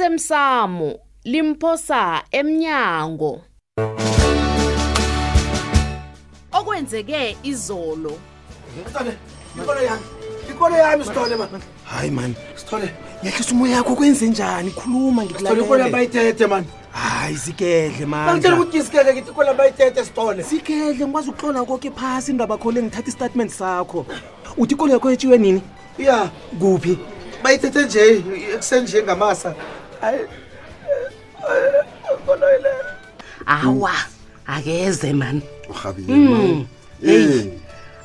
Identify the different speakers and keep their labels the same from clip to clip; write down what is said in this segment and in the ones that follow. Speaker 1: osemsamo limphosa emnyango okwenzeke izolo
Speaker 2: Sithole, ikolo yami ikolo yami sithole man
Speaker 3: hayi mani
Speaker 2: sithole
Speaker 3: ngiyahlisa umoya yakho kwenze njani khuluma
Speaker 2: sithole ikolo yami
Speaker 3: ngikulalele
Speaker 2: bayithethe mani
Speaker 3: hayi sikedle
Speaker 2: bangitshela
Speaker 3: mandla
Speaker 2: ukuthi isikeke ngithi ikolo yami bayithethe sithole
Speaker 3: sikedle ngikwazi ukuxola koke phasi indaba khona engithatha istatimenti sakho uthi ikolo yakho etshiwe nini
Speaker 2: ya
Speaker 3: kuphi
Speaker 2: bayithethe nje ekusenje ngamasa hayi
Speaker 4: awa akeze mani
Speaker 5: urhabile
Speaker 6: Eh,
Speaker 4: heyi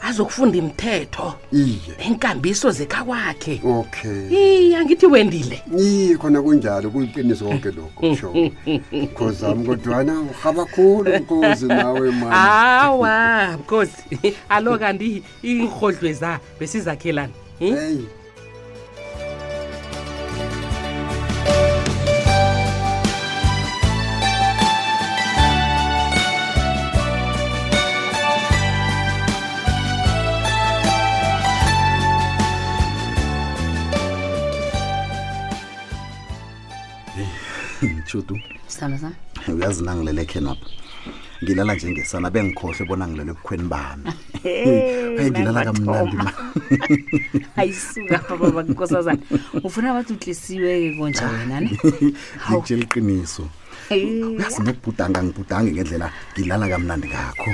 Speaker 4: azokufunda imithetho
Speaker 5: iye
Speaker 4: nenkambiso zekha kwakhe
Speaker 5: okay
Speaker 4: iy angithi wendile
Speaker 5: iye khona kunjalo kuyiqiniso konke lokho sho khozami kodwana urhaba khulu mkhozi nawe mani
Speaker 4: Ah. hawa mkhosi alo kanti iinrhodlweza besizakhelana Hmm?
Speaker 5: heyi
Speaker 6: judu
Speaker 7: sithandazana
Speaker 6: uyazi nangilele khenapha ngilala njengesana bengikhohle bona ngilele ebukhweni bami hayi ngilala kamnandi ma
Speaker 7: ayisuka baba nkosazana ufuna bathi utlisiwe-ke konje wena ne hawu
Speaker 6: ngitshela iqiniso uyazi nokubhudanga ngibhudange ngendlela ngilala kamnandi kakho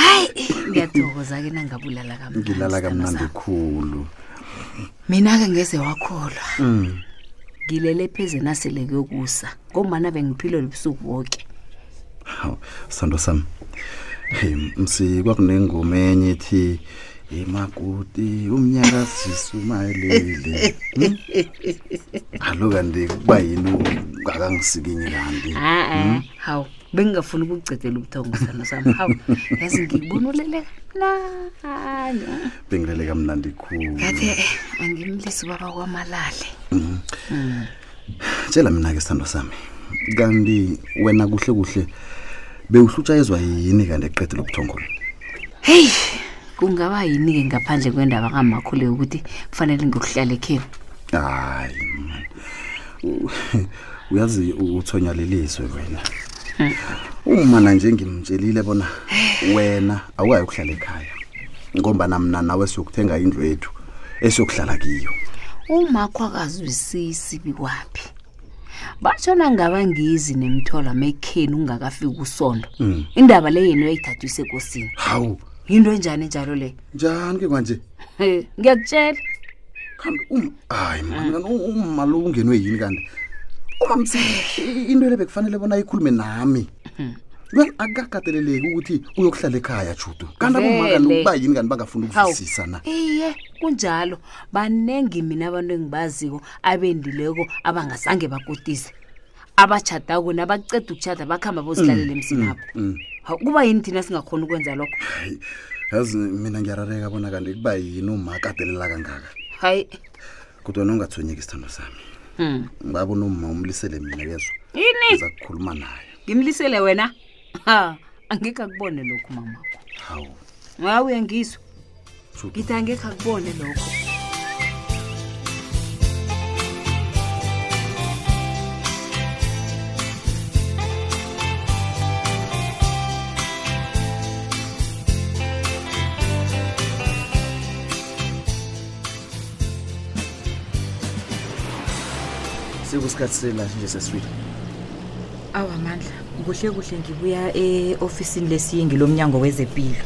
Speaker 7: hayi ngiyathokoza-ke nangabulala kamnandi
Speaker 6: ngilala kamnandi
Speaker 7: sithandazana.
Speaker 6: khulu
Speaker 7: mina-ke ngeze wakholwa Mm. ngilele pheze nasele kuyokusa ngombana bengiphile lobusuku woke
Speaker 6: Hawu, sithando sami Hey, msi kwakunengoma enye ethi emakuti umnyaka sisumayelele Hmm? alo kanti kuba yini akangisikini kanti
Speaker 7: a-a hawu bengingafuni ukukugcedela ubuthongo sithando sami hawu yazi ngikubona uleleka mnani
Speaker 6: bengilele kamnandi khulu
Speaker 7: ngathi eh, angimlisi ubaba kwamalale
Speaker 6: tshela mina-ke sithando sami kanti wena kuhle kuhle bewuhlutshayezwa yini kanti eqede lobuthongolo
Speaker 7: heyi kungaba yini-ke ngaphandle kwendaba kamakhulu yokuthi kufanele ngiyokuhlala ekheni
Speaker 6: hayi man. U- uyazi uthonya lelizwe wena umana nje ngimtshelile bona wena awukayi ukuhlala ekhaya ngombana mna nawe siyokuthenga indlu yethu esiyokuhlala kiyo
Speaker 7: umakho akazwisisi bikwaphi batshona ngaba ngizi nemthola mekheni ungakafiki usondo indaba le yena uyayithathwa isekosini
Speaker 6: hawu
Speaker 7: yinto enjani enjalo le
Speaker 6: njani ke kwanje
Speaker 7: Eh, ngiyakutshela
Speaker 6: kanti um- hayi man, kanti u- umma lo ungenwe yini kanti ubamsi into le bekufanele bona ikhulume nami Uyazi, akukakateleleki ukuthi uyokuhlala ekhaya judu kanti aboma kanti
Speaker 7: Vele.
Speaker 6: ukuba yini kanti bangafuni
Speaker 7: Hawu.
Speaker 6: ukuzwisisa na
Speaker 7: iye kunjalo banengi mina abantu engibaziko abendileko abangazange bakotise abatshadako nabaceda ukutshada bakuhamba bozilalela emsinapho hawu kuba yini thina singakhoni ukwenza lokho
Speaker 6: hayi yazi mina ngiyarareka bona kanti kuba yini uma akatelela kangaka
Speaker 7: hayi
Speaker 6: kodwa nongathonyeki isithando sami ngabona uma umlisele mina yezwa
Speaker 7: Hmm. yini
Speaker 6: iza kukhuluma naye
Speaker 7: ngimlisele wena ha angekhe akubone lokho mamakho
Speaker 6: hawu
Speaker 7: hawu uyangizwa
Speaker 6: Tshuti.
Speaker 7: ngithi angekhe akubone lokho
Speaker 3: sekusikhathi selashi nje sesifile
Speaker 8: awa mandla kuhle kuhle ngibuya e-ofisini lesiyingi lomnyango wezempilo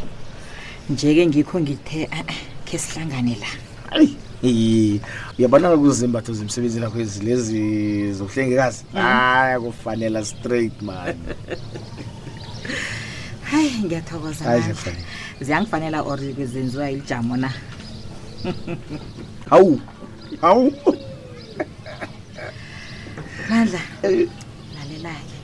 Speaker 8: nje-ke ngikho ngithe a-a khe sihlangane la
Speaker 3: eyi uyabonaka kuzimbatho zemsebenzini akho ezi- lezi zobuhlengekazi hayi kufanela straight man
Speaker 8: hayi ngiyathokoza
Speaker 3: Hayi,
Speaker 8: Mandla.
Speaker 3: ziyakufanela.
Speaker 8: ziyangifanela or zenziwa ilijamo na
Speaker 3: hawu hawu
Speaker 8: mandla lalela-ke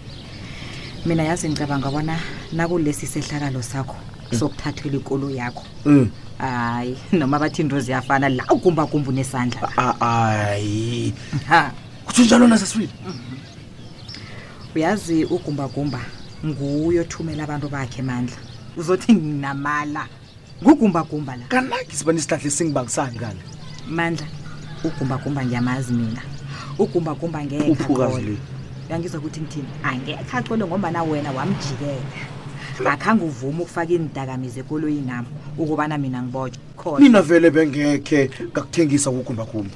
Speaker 8: mina yazi ngicabanga bona nakulesi sehlakalo sakho sokuthathela ikolo yakho
Speaker 3: Mm.
Speaker 8: hayi noma bathi into ziyafana la ugumbagumba unesandla
Speaker 3: A- ayi
Speaker 8: ha
Speaker 3: kutsho njalo nasesifile
Speaker 8: uyazi ugumbagumba nguye othumela abantu bakhe mandla uzothi nginamala ngugumbagumba la
Speaker 3: kanaki siba nesihlahla esingibangisani kanti
Speaker 8: mandla
Speaker 7: ugumbagumba ngiyamazi mina ugumbagumba ngekhe
Speaker 6: uphukazi
Speaker 7: athole.
Speaker 6: le
Speaker 7: uyangizwa ukuthi ngithini angekhe acole ngombana wena wamjikela akhange uvume ukufaka iindakamizwa ekoloyi nami ukubana mina ngibotshwa khona
Speaker 3: mina vele bengekhe ngakuthengisa kugumbagumba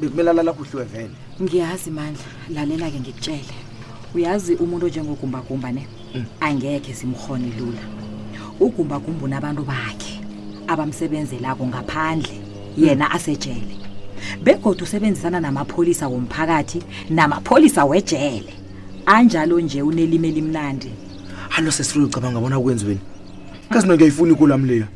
Speaker 3: bekumele alala kuhliwe vele
Speaker 7: ngiyazi mandla lalela-ke ngikutshele uyazi umuntu onjengogumbagumba ne angekhe simrhone lula ugumbagumba unabantu bakhe abamsebenzelako ngaphandle yena asejele begodwa usebenzisana namapholisa womphakathi namapholisa wejele anjalo nje unelimi elimnandi
Speaker 3: halo sesifuna ucabanga bona kwenziweni kazi nongiyayifuni ikulam leyo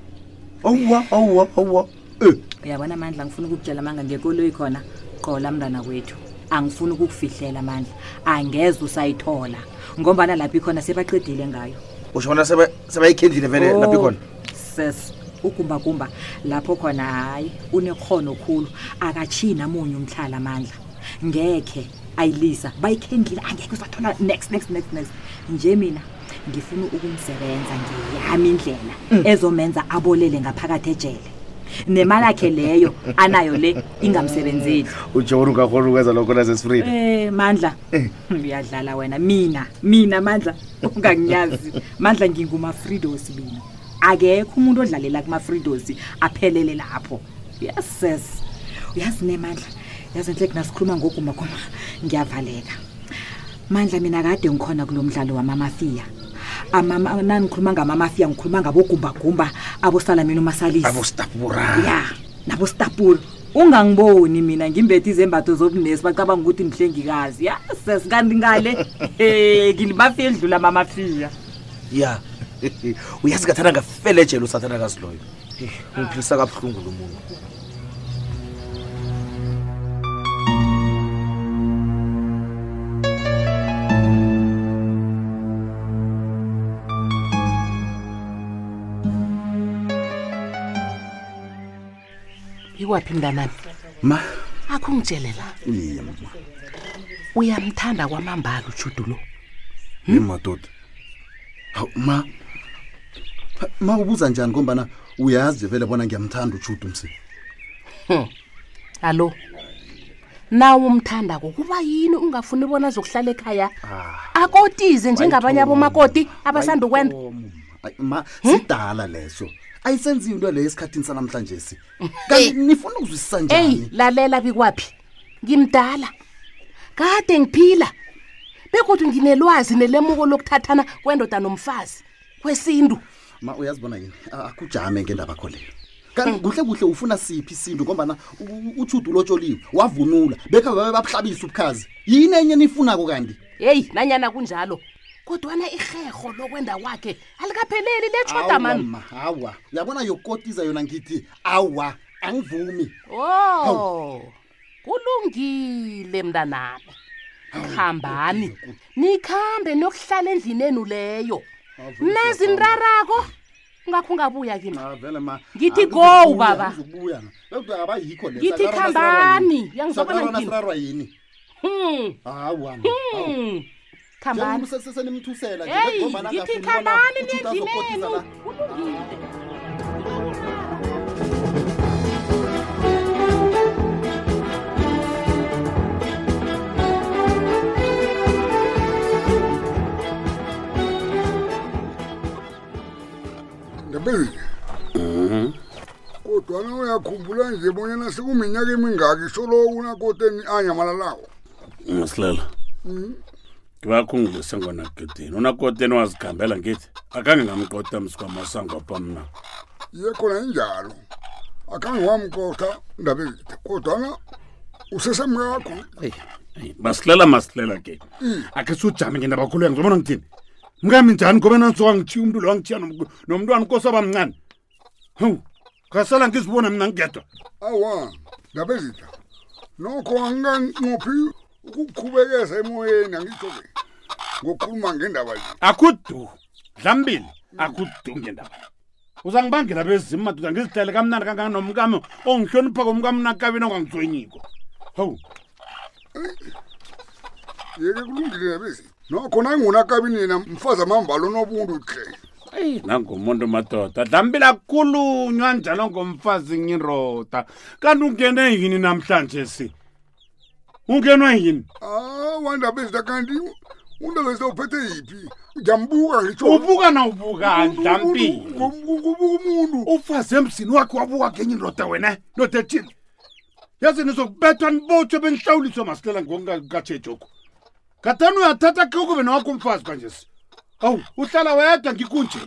Speaker 3: awuwa awuwa awuwa um
Speaker 7: uyabona mandla ngifuna ukukutshela manga ngekoloyi khona qola mntana kwethu angifuni ukukufihlela mandla angeze usayithola ngombana lapho ikhona sebaqedile ngayo
Speaker 3: usho bona seba- sebayikhendlile vele lapho ikhona
Speaker 7: ses ukumbakumba lapho khona hayi unekhono khulu akatshiyi namunye umhlala amandla ngekhe ayilisa bayikhendlile angekhe usathola next next next next nje mina ngifuna ukumsebenza ngeyami indlela
Speaker 3: Mm.
Speaker 7: ezomenza abolele ngaphakathi ejele nemali yakhe leyo anayo le ingamsebenzeli
Speaker 3: ujona ungakhona ukwenza lokho nasesifrida
Speaker 7: Eh mandla uyadlala wena mina mina mandla ungangiyazi mandla ngingumafridos mina akekho umuntu odlalela kumafridos aphelele lapho yases uyazi nemandla yazi nhle kunasikhuluma ngogumakuma ngiyavaleka mandla mina kade ngikhona kulo mdlalo wamamafiya Amama- nanikhuluma ngamamafiya ngikhuluma ngabogumbagumba abosalamini umasalisi
Speaker 3: abostapura
Speaker 7: ya nabositapuro ungangiboni mina ngimbethe izembatho zobunesi bacabanga ukuthi ndihlengikazi ya sesi kanti ngale e ngilimafiya edlula mamafiya
Speaker 3: ya uyazi ngathanda ngafele ejele usathana kazi loyo ungiphilisa kabuhlungu lo muntu
Speaker 9: ikwaphi mntanami
Speaker 6: ma
Speaker 9: akho ungitshelela
Speaker 6: iye ma
Speaker 9: uyamthanda kwamambala ujudu lo
Speaker 6: ye madoda hawu ma Ha, ma ubuza njani ngombana uyazi vele bona ngiyamthanda ujudu msi
Speaker 9: alo nawe umthanda kukuba yini ungafuni bona azokuhlala ekhaya akotize njengabanye abomakoti abasanda ukwenda Hm?
Speaker 6: Ayi, ma sidala leso ayisenziwe into leyo esikhathini sanamhlanje si kanti nifuna ukuzwisisa
Speaker 9: eyi
Speaker 6: njani
Speaker 9: lalela bikwaphi ngimdala kade ngiphila bekodwa nginelwazi nelemuko lokuthathana kwendoda nomfazi kwesintu
Speaker 6: ma uyazibona yini A- akujame ngendaba kho leyo kanti kuhle kuhle ufuna siphi isintu ngombana utshudu ulotsholiwe wavunula bekha babe babuhlabisa ubukhazi yini enye nifunako kanti
Speaker 9: heyi nanyana kunjalo kodwana irherho lokwenda kwakhe alikapheleli letshoda
Speaker 6: Awa,
Speaker 9: mani
Speaker 6: ma, awa uyabona yokotiza yona ngithi awa angivumi
Speaker 9: Oh. Kulungile mntanami. Khambani. Nikhambe nokuhlala endlini enu leyo. Nazi inrarako ngakho ungabuya kimi.
Speaker 6: Ah, vele ma
Speaker 9: Ngithi
Speaker 6: ah,
Speaker 9: go,
Speaker 6: ngizokubuya,
Speaker 9: baba.
Speaker 6: ngizokubuya. Kodwa abayikho le,
Speaker 9: Ngithi
Speaker 6: sakarana
Speaker 9: khambani,
Speaker 6: sirarwa yini?
Speaker 9: uyangizwa bona
Speaker 6: Sakarana
Speaker 9: ngithini?
Speaker 6: sirarwa yini
Speaker 9: Hmm.
Speaker 6: hawa
Speaker 9: hmm. Khambani.
Speaker 6: senimthusela
Speaker 9: Hey, ngithi khambani nendlini
Speaker 6: la
Speaker 9: enu. Kulungile.
Speaker 5: ndebeni kodwana uyakhumbula nje bonyana sekuminyaka emingaki soloku unakoteni anyamalalawo
Speaker 10: Ngasilela. Ngibakho ngilise ngona gedeni. Unakoteni wazikhambela ngithi. Akange ngamqoda msikwamasango pamna.
Speaker 5: iye khona injalo akhange wamkotha ndabeni kodwana usesemkakho
Speaker 10: Basilela masilela ke.
Speaker 5: Hmm.
Speaker 10: Akhe sujame ngendaba kakhulu ngizobona ngithini. Mngami njani ngoba nansoka ngithiya umuntu lo angithiya nomntu- nomntwana nkosi abamncane. Hu. Kasala ngizibona mina ngedwa.
Speaker 5: awa ndabezitha nokho anginganqophi ukukuqhubekeza emoyeni angitsho ke ngokukhuluma ngendaba le
Speaker 10: Akudu. Dlambile. Akudu ngendaba. Uzangibangela bezimu madoda ngizihlele kamnandi kangaka nomkami ongihlonipha komkami nakabini ongangizonyiko. Hawu.
Speaker 5: yeke kulungile ndabezi nokho nangunakabini yena mfazi amambala onobuntu hle
Speaker 10: eyi nangumuntu madoda dlambila kukhulunywa njalo ngomfazi ngiroda kanti ungene yini namhlanje si ungenwa yini
Speaker 5: awandaba ezita kanti undaba ezitawuphethe yiphi ndiyambuka ngitsho
Speaker 10: ubuka na ubuka dlampile
Speaker 5: kubuka umuntu
Speaker 10: ufazi emzini wakhe wabuka kenye indoda wena ndoda ethini yazi nizokubethwa nibotshwe benihlawuliswe masilela ngokungatshejoku katani uyathatha ke ukube nowakho umfazi kanje si awu uhlala wedwa ngikunje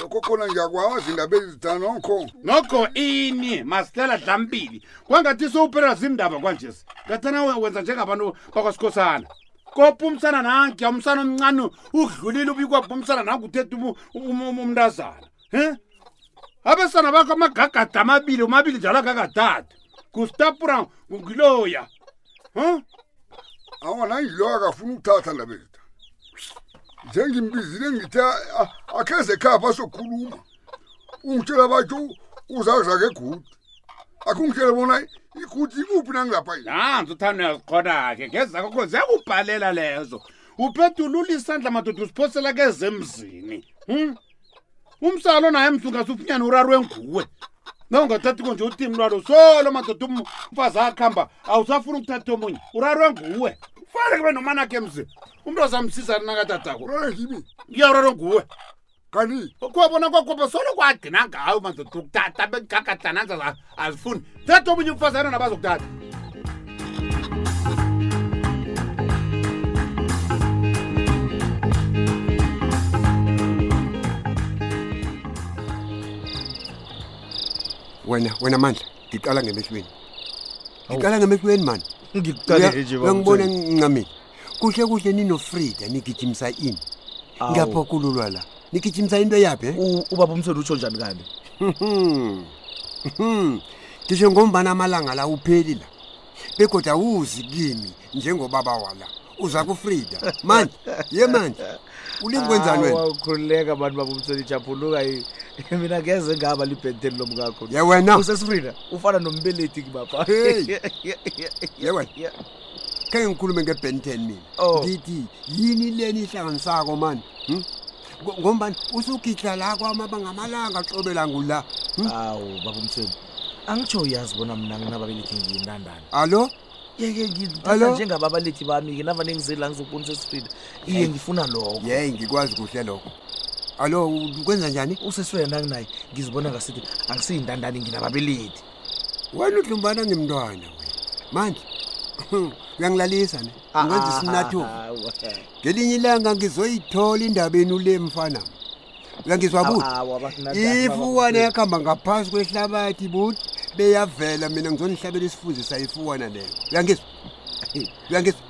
Speaker 5: lokho khona ngiyakwazi indaba ezita nokho
Speaker 10: nokho ini masilela dlampili kwangathi sowuphelelwa zindaba kwanjesi katana we- wenza njengabantu bakwasikhosana kopha umsana nangiya umsana omncane udlulile ubikwapha umsana nangu uthetha umu- umu- umu- umntazana em abesana bakho amagagada amabili umabili njalo agagadada kustapura ngiloya um
Speaker 5: awona ngiloyo akafuna ukuthatha indaba ezita njengimbizile ngithe a- akheze ekhaya basokhuluma ungitshela batsho uzazake egudi akungitshele bona igudi ikuphi nangilapha yini
Speaker 10: nanzi uthanda uyazikhona-ke ngezakho kho ziyakubhalela lezo uphethe ulula isandla madoda usiphosela ke zemzini um umsalo naye msunga sufunyane urarwe nguwe na ungathathiko nje uthimi lwalo solo madoda um- umfazi akuhamba awusafuna ukuthatha omunye urarwe nguwe fanele kube nomanakhe emzini umntu azamsiza nakatatako
Speaker 5: Ulala kimi
Speaker 10: iyararwe nguwe
Speaker 5: kanti
Speaker 10: kwabona kwakwapha solo kwagcina ngayo madoda ukuthatha begagadananza azifuni thatha omunye umfazi anona bazokuthatha
Speaker 5: wena wena mandla ngiqala ngemehlweni ngiqala ngemehlweni mani
Speaker 11: ngikuqalele nje baba
Speaker 5: uyangibona
Speaker 11: uMthembu.
Speaker 5: ngincamile kuhle kuhle ninofrida nigijimisa ini
Speaker 11: Awu.
Speaker 5: ngiyaphokululwa la nigijimisa into yaphi eh?
Speaker 11: U- ubaba umthweni utsho njani kabi
Speaker 5: Mhm. Mhm. ngisho ngombana amalanga la upheli la begoda awuzi kimi njengobaba wala uza kufrida mani ye mani ulingikwenzani wena
Speaker 11: ukhululeka abantu baba umthweni ijaphuluka mina ngeze ngaba libhenteni lomkakho
Speaker 5: ye wena
Speaker 11: usesifrida ufana nombeleti kibaba
Speaker 5: Hey. ye wena ke ngikhulume ngebenten mina
Speaker 11: Oh.
Speaker 5: ngithi yini leni ihlanganisako mani Hmm? Ngo- ngombani usugidla la kwamaba ngamalanga xobela ngula Hmm?
Speaker 11: hawu baba umthweni angitsho uyazi bona mna nginababelethi ngiyintandana
Speaker 5: alo
Speaker 11: yeke ngithatha
Speaker 5: Hello?
Speaker 11: njengababalethi bami-ke navane ngizela ngizobonisa esifrida iye
Speaker 5: Hey.
Speaker 11: ngifuna lokho
Speaker 5: yeyi ngikwazi kuhle lokho alo u- kwenza njani
Speaker 11: usesifrida nanginaye ngizibona ngasithi angisiyintandani nginababelethi
Speaker 5: wena udlumbana ngimntwana wena. manje uyangilalisa ne ungenza isinathuva ngelinye ilanga ngizoyithola indaba yenu le mfana uyangizwa kuthi ifuwana yakuhamba ngaphasi kwehlabathi buti beyavela mina ngizonihlabela isifuzi sayifuwana leyo uyangizwa uyangizwa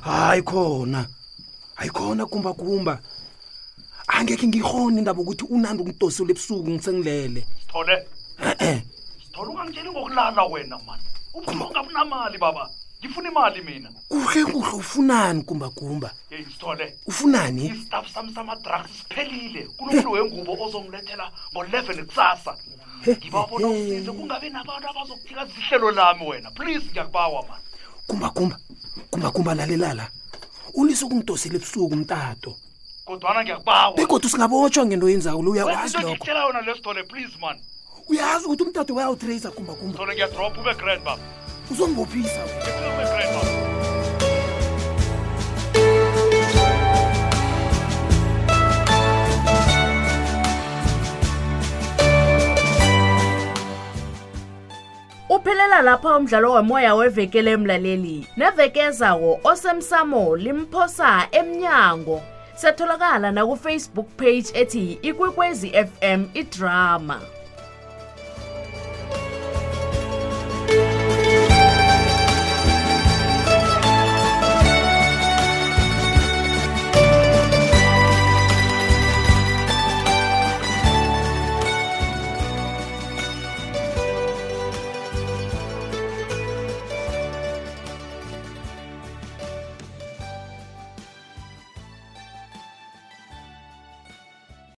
Speaker 2: hayi khona hayi khona kumbakumba angekhe ngihone indaba ukuthi unandi ungidosile ebusuku ngisengilele
Speaker 12: sithole sithole ungangitsheli ngokulala wena mani umuntu ungabunamali baba ngifuna imali mina
Speaker 2: kuhle kuhle ufunani kumbagumba
Speaker 12: yeyi sithole
Speaker 2: ufunani
Speaker 12: istaff sami sama-drugs siphelile kunomuntu wengubo ozongilethela ngo-leven kusasa ngibabona usize kungabi nabantu abazokuthikaza ihlelo lami wena please ngiyakubawa mani
Speaker 2: kumbagumba kumbagumba lalelala ulise ukungidosela ebusuku mtato
Speaker 12: kodwana ngiyakubawa
Speaker 2: begodwa usingabotshwa ngento yenzako lo
Speaker 12: Wena into
Speaker 2: uyawazi lokho
Speaker 12: engikutshela yona le sithole please mani
Speaker 2: uyazi ukuthi umtato bayawutraisa kumbagumba
Speaker 12: sithole ngiyadrop ube grand baba
Speaker 2: uzongibophisa wena
Speaker 12: ube grand baba
Speaker 1: uphelela lapha umdlalo womoya wevekele emlaleli nevekezawo osemsamo limphosa emnyango setholakala nakufacebook page ethi ikwekwezi fm idrama